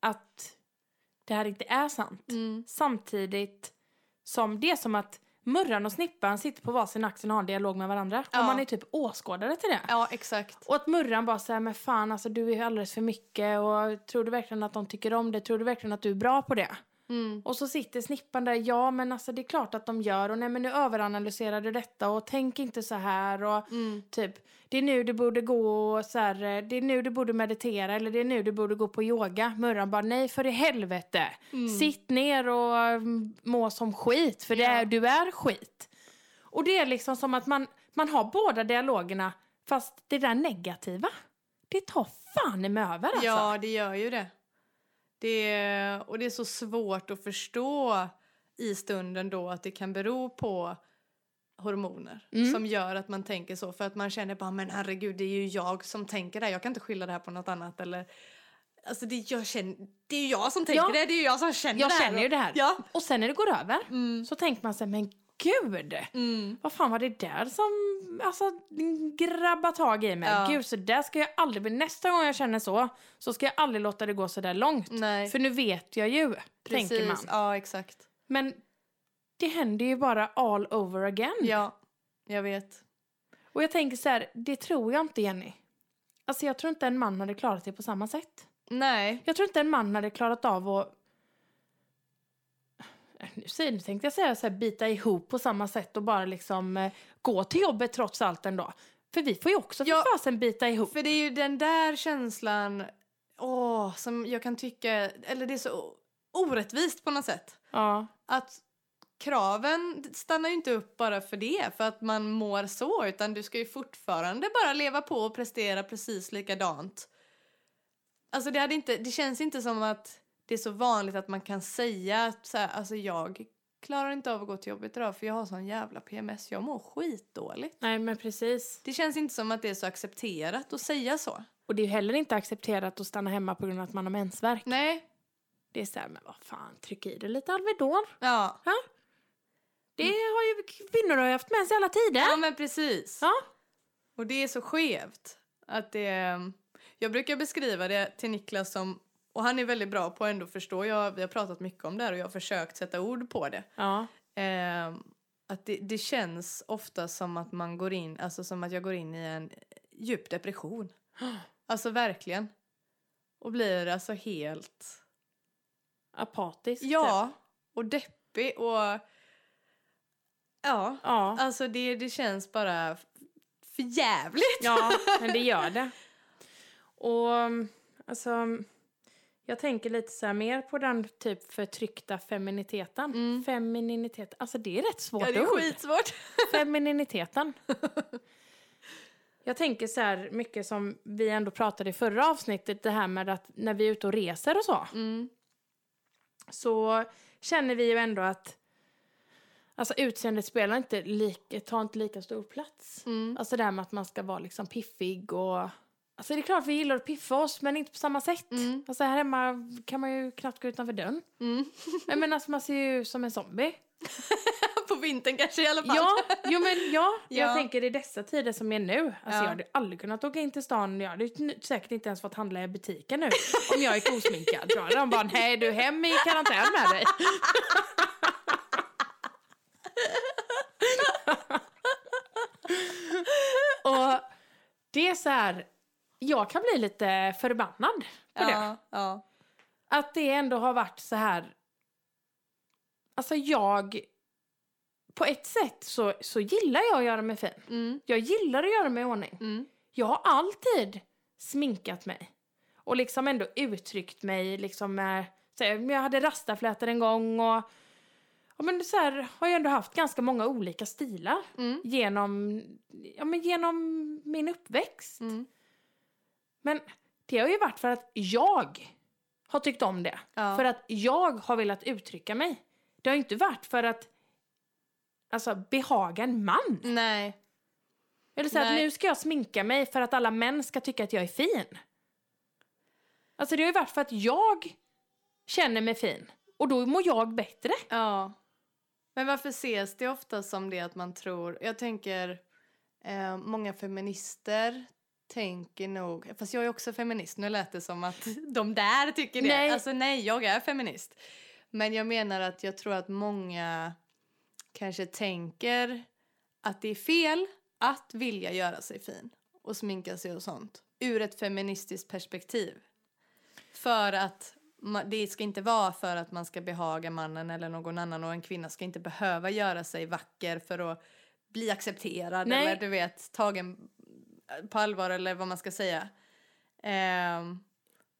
att det här inte är sant. Mm. Samtidigt som det är som att Murran och Snippan sitter på varsin axel och har en dialog med varandra. Ja. Och man är typ åskådare till det. Ja, exakt. Och att Murran bara säger men fan alltså du är ju alldeles för mycket och tror du verkligen att de tycker om det? Tror du verkligen att du är bra på det? Mm. Och så sitter snippan där, ja men alltså det är klart att de gör och nej men nu överanalyserar du detta och tänk inte så här och Mm. Typ, det är nu du borde gå och så här, eh, det är nu du borde meditera eller det är nu du borde gå på yoga. Murran bara, nej för i helvete. Mm. Sitt ner och mm, må som skit för det är, Ja. du är skit. Och det är liksom som att man, man har båda dialogerna fast det där negativa, det tar fan med över alltså. Ja, det gör ju det. det är, och det är så svårt att förstå i stunden då att det kan bero på hormoner Mm. som gör att man tänker så. För att man känner bara men herregud det är ju jag som tänker det här. Jag kan inte skylla det här på något annat. Eller, alltså det, jag känner, det är ju jag som tänker Ja. det. Det är ju jag som känner Jag det här. känner ju det här. Ja. Och sen när det går över Mm. så tänker man sig, men gud. Mm. Vad fan var det där som alltså, grabbar tag i mig? Ja. Gud, så där ska jag aldrig bli. Nästa gång jag känner så, så ska jag aldrig låta det gå så där långt. Nej, För nu vet jag ju, tänker man. precis. Ja, exakt. Men det händer ju bara all over again. Ja, jag vet. Och jag tänker så här, det tror jag inte Jenny. Alltså jag tror inte en man hade klarat det på samma sätt. Nej. Jag tror inte en man hade klarat av att... Nu säger- nu tänkte jag säga så här, bita ihop på samma sätt och bara liksom eh, gå till jobbet trots allt ändå. För vi får ju också Ja. för fasen bita ihop. För det är ju den där känslan åh, som jag kan tycka, eller det är så orättvist på något sätt. Ja. Att kraven stannar ju inte upp bara för det, för att man mår så, utan du ska ju fortfarande bara leva på och prestera precis likadant. Alltså det, hade inte, det känns inte som att det är så vanligt att man kan säga att så här, alltså jag klarar inte av att gå till jobbet idag för jag har sån jävla PMS, jag mår skitdåligt. Nej men precis. Det känns inte som att det är så accepterat att säga så. Och det är ju heller inte accepterat att stanna hemma på grund av att man har mensvärk. Nej. Det är så här, men vad fan, tryck i dig lite Alvedon. Ja. Det har ju kvinnor har ju haft mens i alla tider. ja, men precis. Ja. Och det är så skevt. Att det, mm, jag brukar beskriva det till Niklas som, och han är väldigt bra på att ändå förstå, jag, vi har pratat mycket om det här och jag har försökt sätta ord på det. Ja. Ehm, att det, det känns ofta som att man går in, alltså som att jag går in i en djup depression. Alltså verkligen. Och blir alltså helt Apatiskt. typ. Ja, och deppig och... Ja, Ja. alltså det, det känns bara f- för jävligt. Ja, men det gör det. Och alltså, jag tänker lite så här mer på den typ förtryckta femininiteten. Mm. Femininitet, alltså det är rätt svårt Ja, det är ord. skitsvårt. Femininiteten. Jag tänker så här mycket som vi ändå pratade i förra avsnittet, det här med att när vi är ute och reser och så, Mm. så känner vi ju ändå att alltså utseendet spelar inte, lika, tar inte lika stor plats. Mm. Alltså det här med att man ska vara liksom piffig och... Alltså det är klart vi gillar att piffa oss men inte på samma sätt. Mm. Alltså här hemma kan man ju knappt gå utanför dörren. Mm. Nej men alltså man ser ju ut som en zombie. på vintern kanske i alla fall. Ja, jo men ja, Ja. jag tänker i dessa tider som är nu. Alltså Ja. jag hade aldrig kunnat åka in till stan, jag hade ju säkert inte ens fått handla i butiken nu om jag gick osminkad. Då hade de bara, nej du är hem i karantän med dig. Och det är så här, jag kan bli lite förbannad på det. ja, ja. Att det ändå har varit så här... Alltså jag... På ett sätt så, så gillar jag att göra mig fin. Mm, Jag gillar att göra mig i ordning. mm, Jag har alltid sminkat mig. Och liksom ändå uttryckt mig liksom med... Så här, men jag hade rastaflätor en gång och... Ja men så här har jag ändå haft ganska många olika stilar. mm, Genom, ja, men genom min uppväxt. mm. Men det har ju varit för att jag har tyckt om det. Ja. För att jag har velat uttrycka mig. Det har ju inte varit för att alltså, behaga en man. Nej. Eller så att Nej. nu ska jag sminka mig för att alla män ska tycka att jag är fin. Alltså det har ju varit för att jag känner mig fin. Och då mår jag bättre. Ja. Men varför ses det ofta som det att man tror... Jag tänker, eh, många feminister tänker nog... Fast jag är också feminist, nu lät det som att de där tycker det. Nej. Alltså nej, jag är feminist. Men jag menar att jag tror att många kanske tänker att det är fel att vilja göra sig fin och sminka sig och sånt ur ett feministiskt perspektiv. För att ma- det ska inte vara för att man ska behaga mannen eller någon annan och en kvinna ska inte behöva göra sig vacker för att bli accepterad Nej. eller du vet tagen på allvar eller vad man ska säga. Ehm,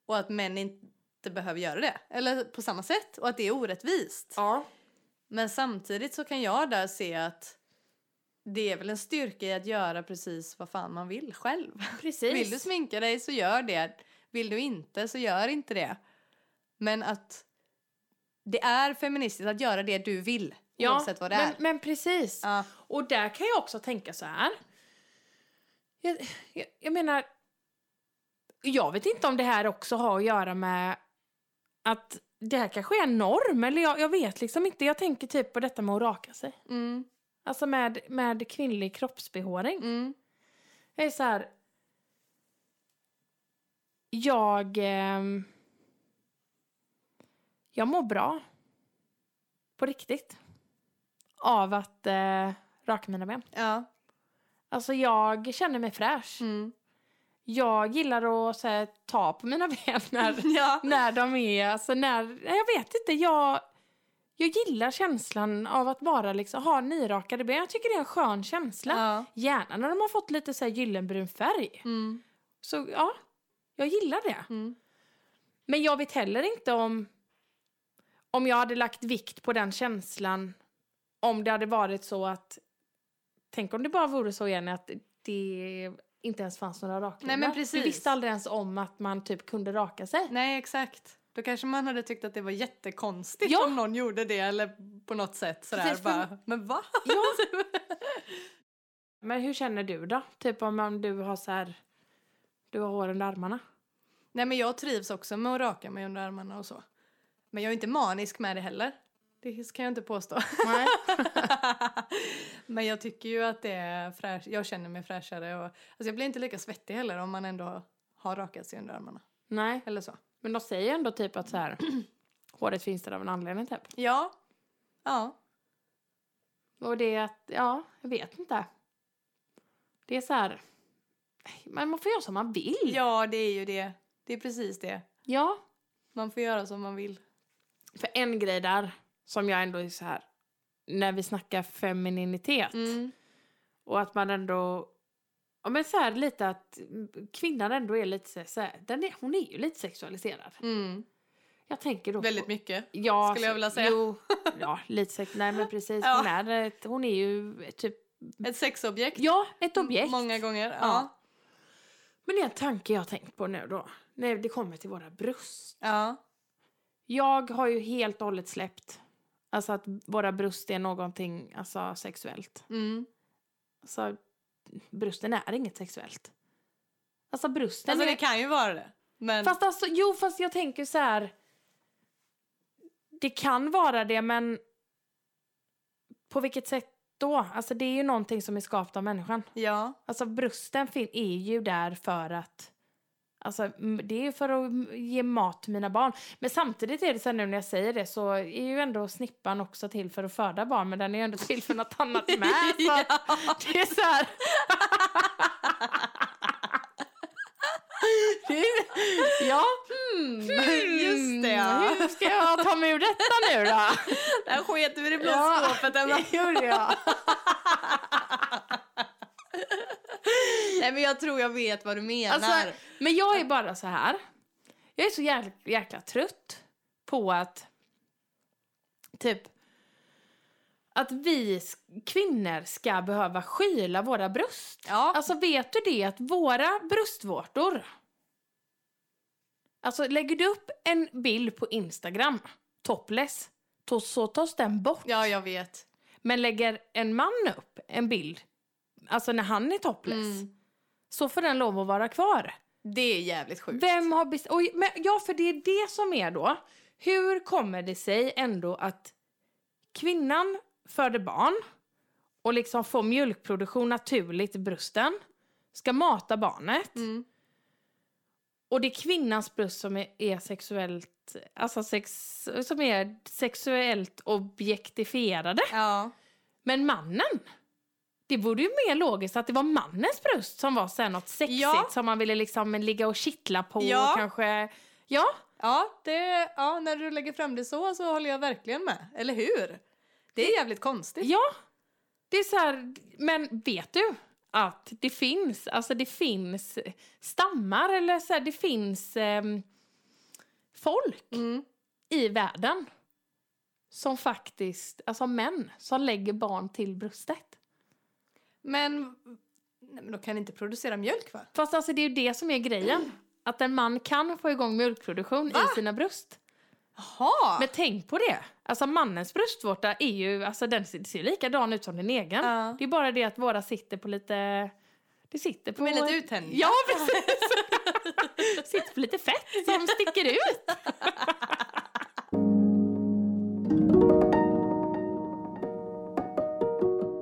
och att män inte behöver göra det, eller på samma sätt, och att det är orättvist. Ja. Men samtidigt så kan jag där se att det är väl en styrka i att göra precis vad fan man vill själv. Precis. Vill du sminka dig så gör det. Vill du inte så gör inte det. Men att det är feministiskt att göra det du vill ja, oavsett vad det men, är. Men precis. Ja. Och där kan jag också tänka så här. Jag, jag, jag menar, jag vet inte om det här också har att göra med att det här kanske är en norm, eller jag, jag vet liksom inte. Jag tänker typ på detta med att raka sig. Mm, Alltså med, med kvinnlig kroppsbehåring. mm, Jag är så här... Jag... ehm, jag mår bra. På riktigt. Av att eh, raka mina ben. ja, Alltså jag känner mig fräsch. mm. Jag gillar att så här, ta på mina ben när, ja. när de är... Alltså när... nej, Jag vet inte. Jag, jag gillar känslan av att bara liksom ha nyrakade ben. Jag tycker det är en skön känsla. ja. Gärna när de har fått lite så här gyllenbrun färg. Mm, Så ja, jag gillar det. mm. Men jag vet heller inte om, om jag hade lagt vikt på den känslan om det hade varit så att... Tänk om det bara vore så igen att det inte ens fanns några rakningar. Nej, men precis. Vi visste aldrig ens om att man typ kunde raka sig. Nej, exakt. Då kanske man hade tyckt att det var jättekonstigt Ja. om någon gjorde det eller på något sätt sådär Precis, för- bara, men va? Ja. men hur känner du då? Typ om om du har så här... Du har hår under armarna. Nej men jag trivs också med att raka mig under armarna och så. Men jag är inte manisk med det heller. Det kan jag inte påstå. Nej. men jag tycker ju att det är fräsch. Jag känner mig fräschare och alltså jag blir inte lika svettig heller om man ändå har rakat sig under armarna. Nej. Eller så. Men de säger ju ändå typ att så här... Håret finns där av en anledning typ. Ja. Ja. Och det är att, ja, jag vet inte. Det är så här, men man får göra som man vill. Ja, det är ju det. Det är precis det. Ja. Man får göra som man vill. För en grej där som jag ändå är så här, när vi snackar femininitet Mm. och att man ändå, ja men så här lite att mm, kvinnan ändå är lite så- så här, den är, hon är ju lite sexualiserad. Mm. Jag tänker då Väldigt på, mycket. ja, skulle jag vilja säga. Jo, ja, lite sex, nej men precis, Ja. hon, är, ett- hon är ju typ, Ett sexobjekt. ja, ett objekt. Många gånger. Ja. Ja. Men det är en tanke jag har tänkt på nu då. När det kommer till våra bröst. Ja. Jag har ju helt och hållet släppt. Alltså att våra bröst är någonting alltså, sexuellt. Mm. Alltså brösten är inget sexuellt. Alltså brösten Alltså är... det kan ju vara det. Men... Fast alltså, jo fast jag tänker så här. Det kan vara det men På vilket sätt då? Alltså det är ju någonting som är skapat av människan. Ja. Alltså brösten fin- är ju där för att... Alltså m- det är ju för att m- ge mat till mina barn. Men samtidigt är det så här nu när jag säger det så är ju ändå snippan också till för att föda barn. Men den är ju ändå till för något annat med. Så att det är så här... Det är- Ja, hmm. just det, ja. Hur ska jag ta mig ur detta nu då? Där sket vi i det blå Ja. skåpet. Emma. Det gjorde jag. Nej, men jag tror jag vet vad du menar. Alltså, men jag är bara så här. Jag är så jäkla, jäkla trött på att typ att vi s- kvinnor ska behöva skyla våra bröst. ja. Alltså vet du det att våra bröstvårtor. Alltså lägger du upp en bild på Instagram topless to, så tas den bort. ja, jag vet. Men lägger en man upp en bild alltså när han är topless Mm. så får den lov att vara kvar. Det är jävligt sjukt. Vem har bestämt? Men, ja, för det är det som är då. Hur kommer det sig ändå att kvinnan föder barn och liksom får mjölkproduktion naturligt i brösten, ska mata barnet Mm. och det är kvinnans bröst som är, är sexuellt, alltså sex, som är sexuellt objektifierade. Ja. Men mannen? Det vore ju mer logiskt att det var mannens bröst som var så här något sexigt Ja. som man ville liksom ligga och kittla på Ja. och kanske... Ja, Ja, det, ja, när du lägger fram det så så håller jag verkligen med. Eller hur? Det är jävligt konstigt. ja. Det är så här, men vet du att det finns, alltså det finns stammar eller så här, det finns ehm, folk Mm. i världen som faktiskt, alltså män, som lägger barn till bröstet. Men, nej, men de kan inte producera mjölk va? Fast alltså det är ju det som är grejen. Att en man kan få igång mjölkproduktion Va? Ah. i sina bröst. Jaha! Men tänk på det. Alltså mannens bröstvårta är ju, alltså den ser ser ju likadan ut som din egen. Ja. Det är bara det att våra sitter på lite, det sitter på... De är lite uttänjda. Ja precis! sitter på lite fett som sticker ut.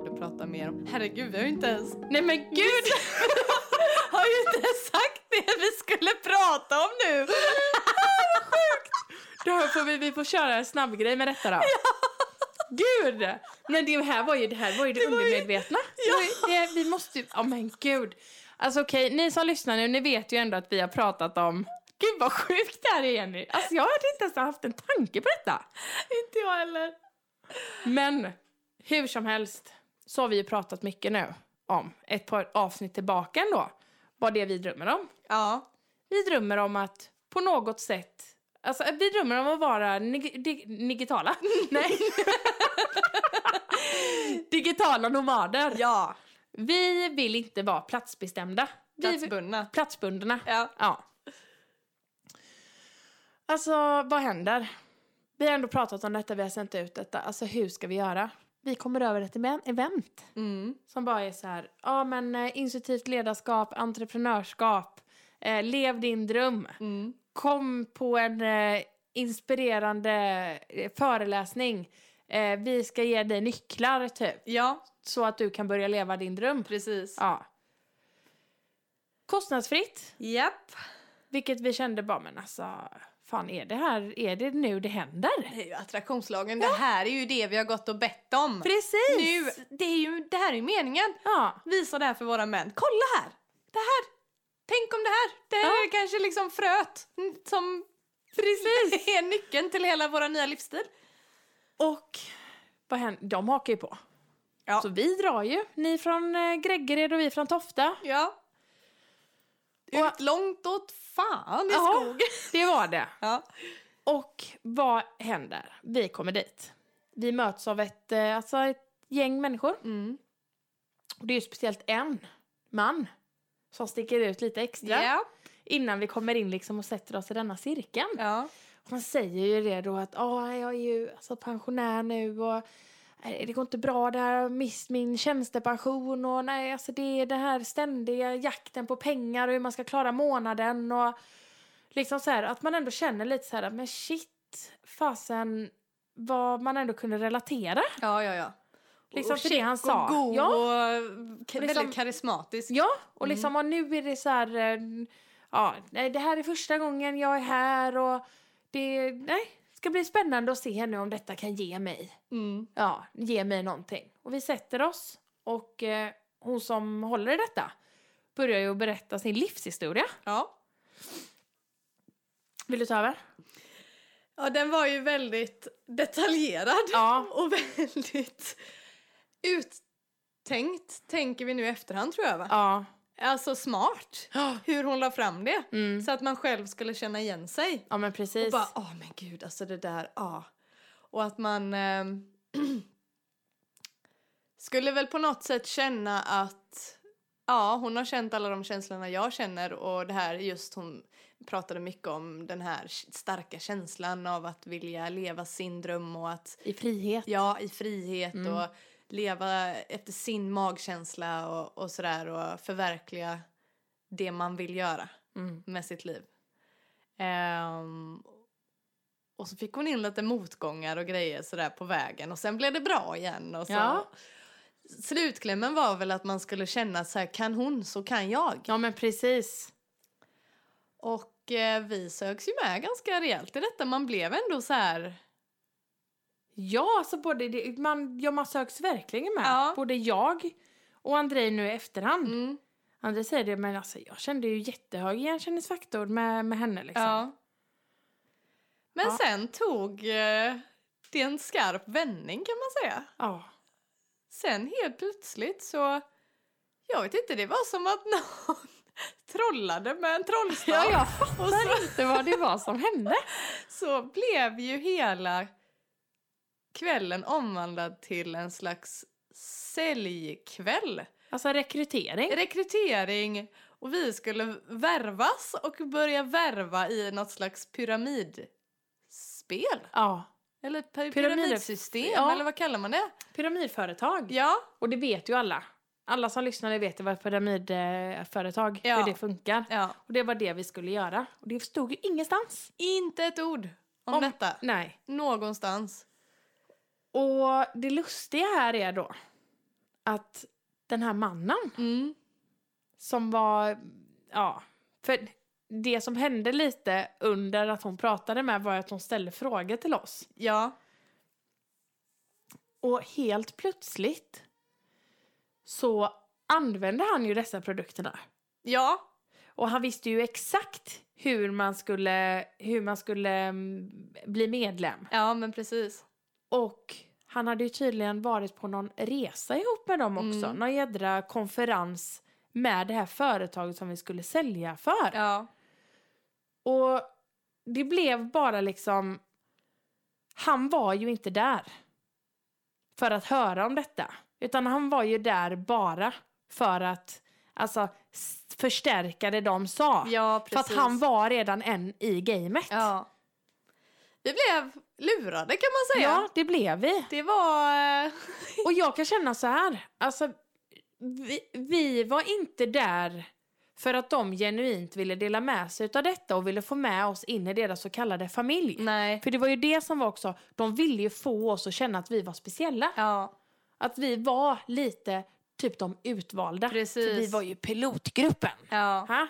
du pratar mer om. Herregud, vi har ju inte ens, Nej men gud! har ju inte ens sagt det vi skulle prata om nu! Ah, Då får vi, vi får köra en snabb grej med detta då. Gud! Men det här var ju det, här var ju det, var ju- undermedvetna. Det var ju- Det, vi måste ju... Ja men gud. Alltså okej, ni som lyssnar nu, ni vet ju ändå att vi har pratat om... Gud vad sjukt det här är Jenny. Alltså jag hade inte ens haft en tanke på detta. inte jag heller. Men hur som helst så har vi ju pratat mycket nu om ett par avsnitt tillbaka ändå. Vad det är vi drömmer om. Ja. Vi drömmer om att på något sätt... Alltså vi drömmer om att vara nig- dig- digitala. Nej. digitala nomader. Ja. Vi vill inte vara platsbestämda. Vi vill- Platsbundna. Platsbundna. Ja. Ja. Alltså, vad händer? Vi har ändå pratat om detta, vi har sänt ut detta. Alltså, hur ska vi göra? Vi kommer över ett emen- event Mm. som bara är så här, ja men eh, institutivt ledarskap, entreprenörskap, eh, lev din dröm Mm. kom på en eh, inspirerande eh, föreläsning. Eh, vi ska ge dig nycklar typ, Ja, så att du kan börja leva din dröm. precis. Ja. Kostnadsfritt, Japp. vilket vi kände bara, men alltså, fan är det här, är det nu det händer? Det är ju attraktionslagen. Det här är ju det vi har gått och bett om. Precis! Nu, det, är ju, det här är ju meningen. Ja, Visa det här för våra män. Kolla här! Det här! Tänk om det här! Det här Ja. är kanske liksom fröet mm, som precis! är nyckeln till hela vår nya livsstil. Och vad händer? de hakar ju på. Ja. Så vi drar ju, ni från eh, Greggered och vi från Tofta. Ja. Och- Ut långt åt fan i Ja, skogen. Det var det. Ja. Och vad händer? Vi kommer dit. Vi möts av ett, eh, alltså ett gäng människor. Mm. Och det är ju speciellt en man som sticker ut lite extra Ja. innan vi kommer in liksom och sätter oss i denna cirkeln. Ja. Hon säger ju det då att "Ja, jag är ju alltså, pensionär nu och eh, det går inte bra där, jag har mist min tjänstepension och nej alltså det är den här ständiga jakten på pengar och hur man ska klara månaden och liksom så här att man ändå känner lite så här att men shit fasen vad man ändå kunde relatera. Ja, ja, ja. Liksom för det han Check sa. Och god ja, och ka- liksom- väldigt karismatisk. Ja, och liksom och nu är det så här... eh, Ja, nej, det här är första gången jag är här och det nej, ska bli spännande att se nu om detta kan ge mig, Mm. ja, ge mig någonting. Och vi sätter oss och eh, hon som håller i detta börjar ju berätta sin livshistoria. ja. Vill du ta över? Ja, den var ju väldigt detaljerad Ja. och väldigt uttänkt, tänker vi nu i efterhand tror jag va? Ja. Alltså smart, hur hon la fram det. Mm. Så att man själv skulle känna igen sig. Ja, men Och precis. bara, åh men gud, alltså det där, ja. Och att man ehm, skulle väl på något sätt känna att ja, hon har känt alla de känslorna jag känner och det här just hon pratade mycket om den här starka känslan av att vilja leva sin dröm och att I frihet. Ja, i frihet Mm. och leva efter sin magkänsla och, och sådär och förverkliga det man vill göra Mm. med sitt liv. Ehm, och så fick hon in lite motgångar och grejer sådär på vägen och sen blev det bra igen. Och så. Ja. Slutklämmen var väl att man skulle känna så här, kan hon så kan jag. ja, men precis. Och eh, vi sögs ju med ganska rejält i detta. Man blev ändå så här, mm, Ja, alltså både det, man, ja, man söks verkligen med. Ja. Både jag och Andrei nu i efterhand. mm, Andrei säger det, men alltså jag kände ju jättehög igenkänningsfaktor med, med henne liksom. Ja. Men Ja. sen tog eh, det en skarp vändning kan man säga. Ja. Sen helt plötsligt så, jag vet inte, det var som att någon trollade med en trollstav. Ja, jag Och så, fattar inte vad det var som hände. så blev ju hela kvällen omvandlad till en slags säljkväll. Alltså rekrytering. Rekrytering och vi skulle värvas och börja värva i något slags pyramidspel. Ja. Eller py- Pyramid- pyramidsystem, ja. eller vad kallar man det? Pyramidföretag. Ja, Och det vet ju alla. Alla som lyssnar vet ju vad ett pyramidföretag, Ja. hur det funkar. ja. Och det var det vi skulle göra. Och det stod ju ingenstans. Inte ett ord om, Om- detta. Nej. Någonstans. Och det lustiga här är då att den här mannen Mm. som var, ja, för det som hände lite under att hon pratade med var att hon ställde frågor till oss. Ja. Och helt plötsligt så använde han ju dessa produkterna. Ja. Och han visste ju exakt hur man skulle, hur man skulle mm, bli medlem. Ja, men precis. Och han hade ju tydligen varit på någon resa ihop med dem också. Mm. Någon jädra konferens med det här företaget som vi skulle sälja för. Ja. Och det blev bara liksom... Han var ju inte där för att höra om detta. Utan han var ju där bara för att alltså, s- förstärka det de sa. Ja, för precis. att han var redan en i gamet. Ja. Vi blev lurade kan man säga. ja, det blev vi. Det var... eh, Och jag kan känna så här, alltså vi, vi var inte där för att de genuint ville dela med sig av detta och ville få med oss in i deras så kallade familj. Nej. För det var ju det som var också, de ville ju få oss att känna att vi var speciella. Ja. Att vi var lite typ de utvalda. Precis. För vi var ju pilotgruppen. Ja. Ha?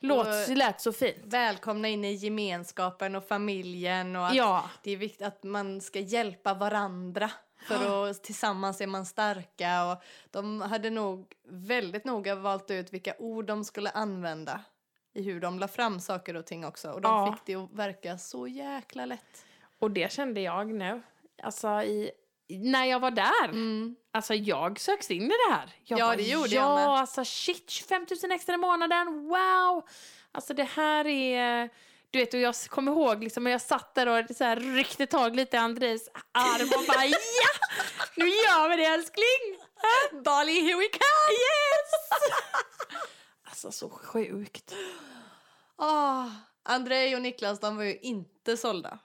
Låt, Och- lät så fint. Välkomna in i gemenskapen och familjen och att Ja, det är viktigt att man ska hjälpa varandra för att tillsammans är man starka och de hade nog väldigt noga valt ut vilka ord de skulle använda i hur de la fram saker och ting också och de Ja. fick det att verka så jäkla lätt. och det kände jag nu. Alltså i, när jag var där. Mm. Alltså jag söks in i det här. Jag Ja, det gjorde ja, jag med." alltså shit, 25 000 extra i månaden, wow! Alltså det här är... Du vet, och jag kommer ihåg liksom, när jag satt där och så här, ryckte tag lite i Andres arm och bara ja! Nu gör vi det älskling! Bali, here we come! Yes! Alltså så sjukt. oh, Andrei och Niklas de var ju inte sålda.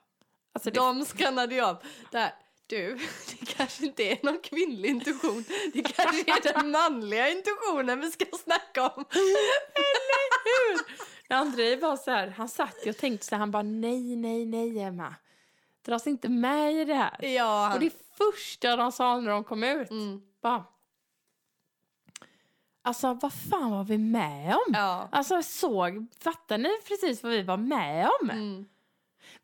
Alltså, det, De skannade ju av. Där. Du, det kanske inte är någon kvinnlig intuition. Det kanske är den manliga intuitionen vi ska snacka om. André var så här, han satt ju och tänkte så här, han bara nej, nej, nej Emma. dras inte med i det här. Ja. Och det första de sa när de kom ut, mm. bara... Alltså, vad fan var vi med om? Ja. Alltså, jag såg, fattar ni precis vad vi var med om? Mm.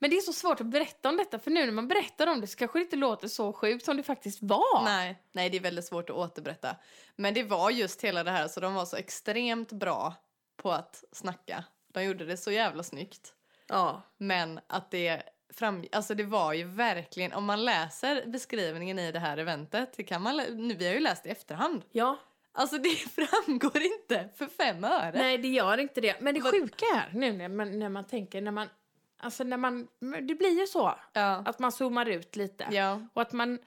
Men det är så svårt att berätta om detta, för nu när man berättar om det så kanske det inte låter så sjukt som det faktiskt var. Nej, nej, det är väldigt svårt att återberätta. Men det var just hela det här, så de var så extremt bra på att snacka. De gjorde det så jävla snyggt. Ja. Men att det fram, alltså det var ju verkligen, om man läser beskrivningen i det här eventet, det kan man, lä- nu, vi har ju läst i efterhand, Ja, alltså det framgår inte för fem öre. nej det gör inte det. Men det Vad- sjuka är nu när man, när man tänker, när man, alltså när man, men det blir ju så. Ja. Att man zoomar ut lite. ja. Och att man,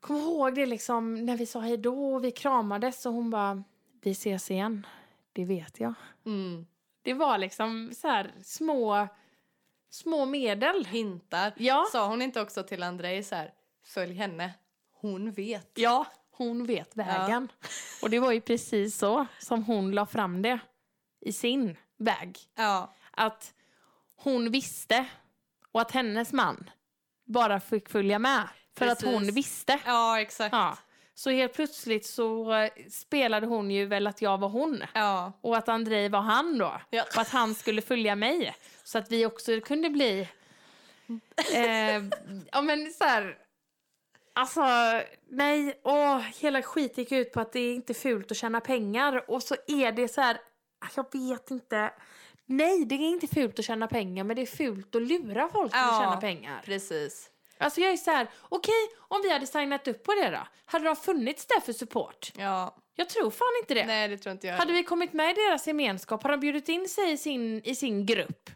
kom ihåg det liksom när vi sa hej då och vi kramades och hon bara, vi ses igen, det vet jag. Mm. Det var liksom så här små, små medel. Hintar. Ja. Sa hon inte också till Andrei så här, följ henne, hon vet. Ja, hon vet vägen. Och det var ju precis så som hon la fram det i sin väg. Ja. Att hon visste och att hennes man bara fick följa med för att hon Precis. visste. Ja, exakt. Ja. Så helt plötsligt så eh, spelade hon ju väl att jag var hon. Ja. Och att Andrei var han då. Ja. Och att han skulle följa mig. Så att vi också kunde bli... Eh, ja men så här... Alltså, nej, åh, hela skit gick ut på att det är inte fult att tjäna pengar. Och så är det så här, ah, jag vet inte. Nej, det är inte fult att tjäna pengar, men det är fult att lura folk att Ja. tjäna pengar. Precis. Alltså jag är så här, okej, om vi hade signat upp på det då, hade de funnits där för support? Ja. Jag tror fan inte det. Nej, det tror inte jag. Hade vi kommit med i deras gemenskap, hade de bjudit in sig i sin, i sin grupp?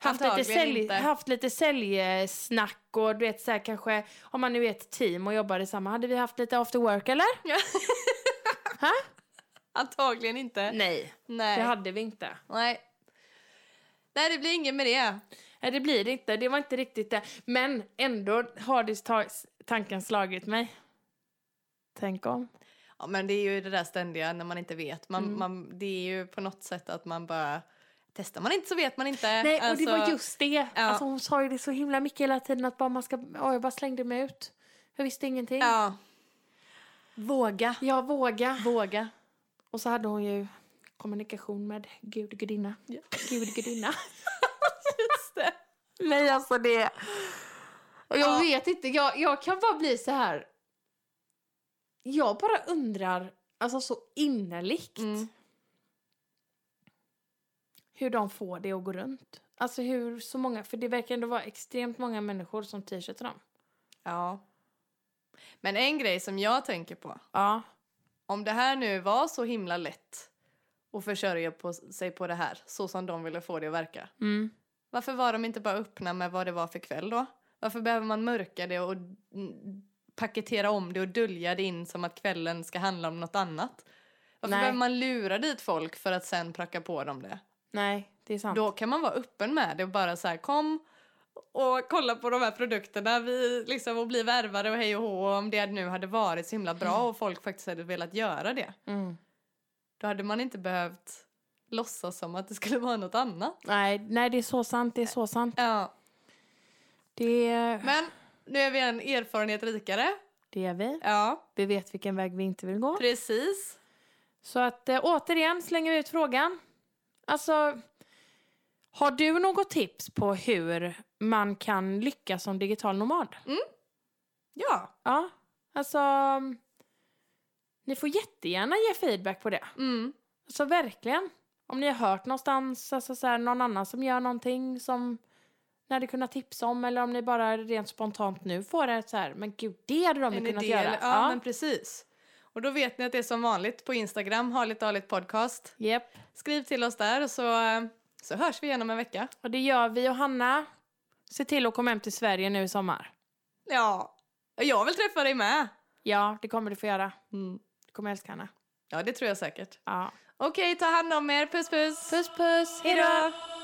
Haft lite, Antagligen sälj, inte. haft lite säljsnack och du vet så här kanske, om man nu är ett team och jobbar tillsammans, hade vi haft lite after work eller? Ja. Ha? Antagligen inte. Nej. Nej. Det Mm. hade vi inte. Nej. Nej, det blir inget med det. Nej det blir det inte, det var inte riktigt det. Men ändå har det ta- tanken slagit mig. Tänk om. Ja, men det är ju det där ständiga när man inte vet. Man, Mm. man, det är ju på något sätt att man bara... Testar man inte så vet man inte. Nej, och det var Alltså, just det. Alltså, hon sa ju det så himla mycket hela tiden att bara man ska... Ja, jag bara slängde mig ut. Jag visste ingenting. Ja. Våga. Jag våga. Våga. Och så hade hon ju kommunikation med gud, gudinna. Ja. Gud, gudinna. Just det. Nej, alltså det... Och jag Ja. vet inte, jag, jag kan bara bli så här... Jag bara undrar, alltså så innerligt, Mm. hur de får det att gå runt. Alltså hur så många, för det verkar ändå vara extremt många människor som t-shirtar dem. Ja. Men en grej som jag tänker på. Ja. Om det här nu var så himla lätt att försörja på, sig på det här, så som de ville få det att verka. Mm. Varför var de inte bara öppna med vad det var för kväll då? Varför behöver man mörka det och mm, paketera om det och dölja det in som att kvällen ska handla om något annat? Varför Nej. behöver man lura dit folk för att sen pracka på dem det? Nej, det är sant. Då kan man vara öppen med det och bara så här kom och kolla på de här produkterna vi, liksom, och bli värvare och hej och hå. Och Om det nu hade varit så himla bra och folk faktiskt hade velat göra det. Mm. Då hade man inte behövt låtsas som att det skulle vara något annat. Nej, nej, det är så sant, det är så sant. Ja. Det, Men nu är vi en erfarenhet rikare. det är vi. Ja, Vi vet vilken väg vi inte vill gå. precis. Så att eh, återigen slänger vi ut frågan. Alltså, har du något tips på hur man kan lyckas som digital nomad? Ja. Ja, alltså ni får jättegärna ge feedback på det. Mm. Alltså verkligen. Om ni har hört någonstans, alltså så här, någon annan som gör någonting som ni hade kunnat tipsa om eller om ni bara rent spontant nu får det så här, men gud det hade de ju En kunnat idé. göra. eller- Ja, men precis. Och då vet ni att det är som vanligt på Instagram, Harligt Dahligt Podcast. Japp. Skriv till oss där så, eh, så hörs vi igen om en vecka. Och det gör vi och Hanna, se till att komma hem till Sverige nu i sommar. Ja, och jag vill träffa dig med. Ja, det kommer du få göra. Du kommer älska henne. Ja, det Mm. tror jag säkert. Ja. Okej, ta hand om er. Puss, puss. Puss puss, hejdå! Hejdå!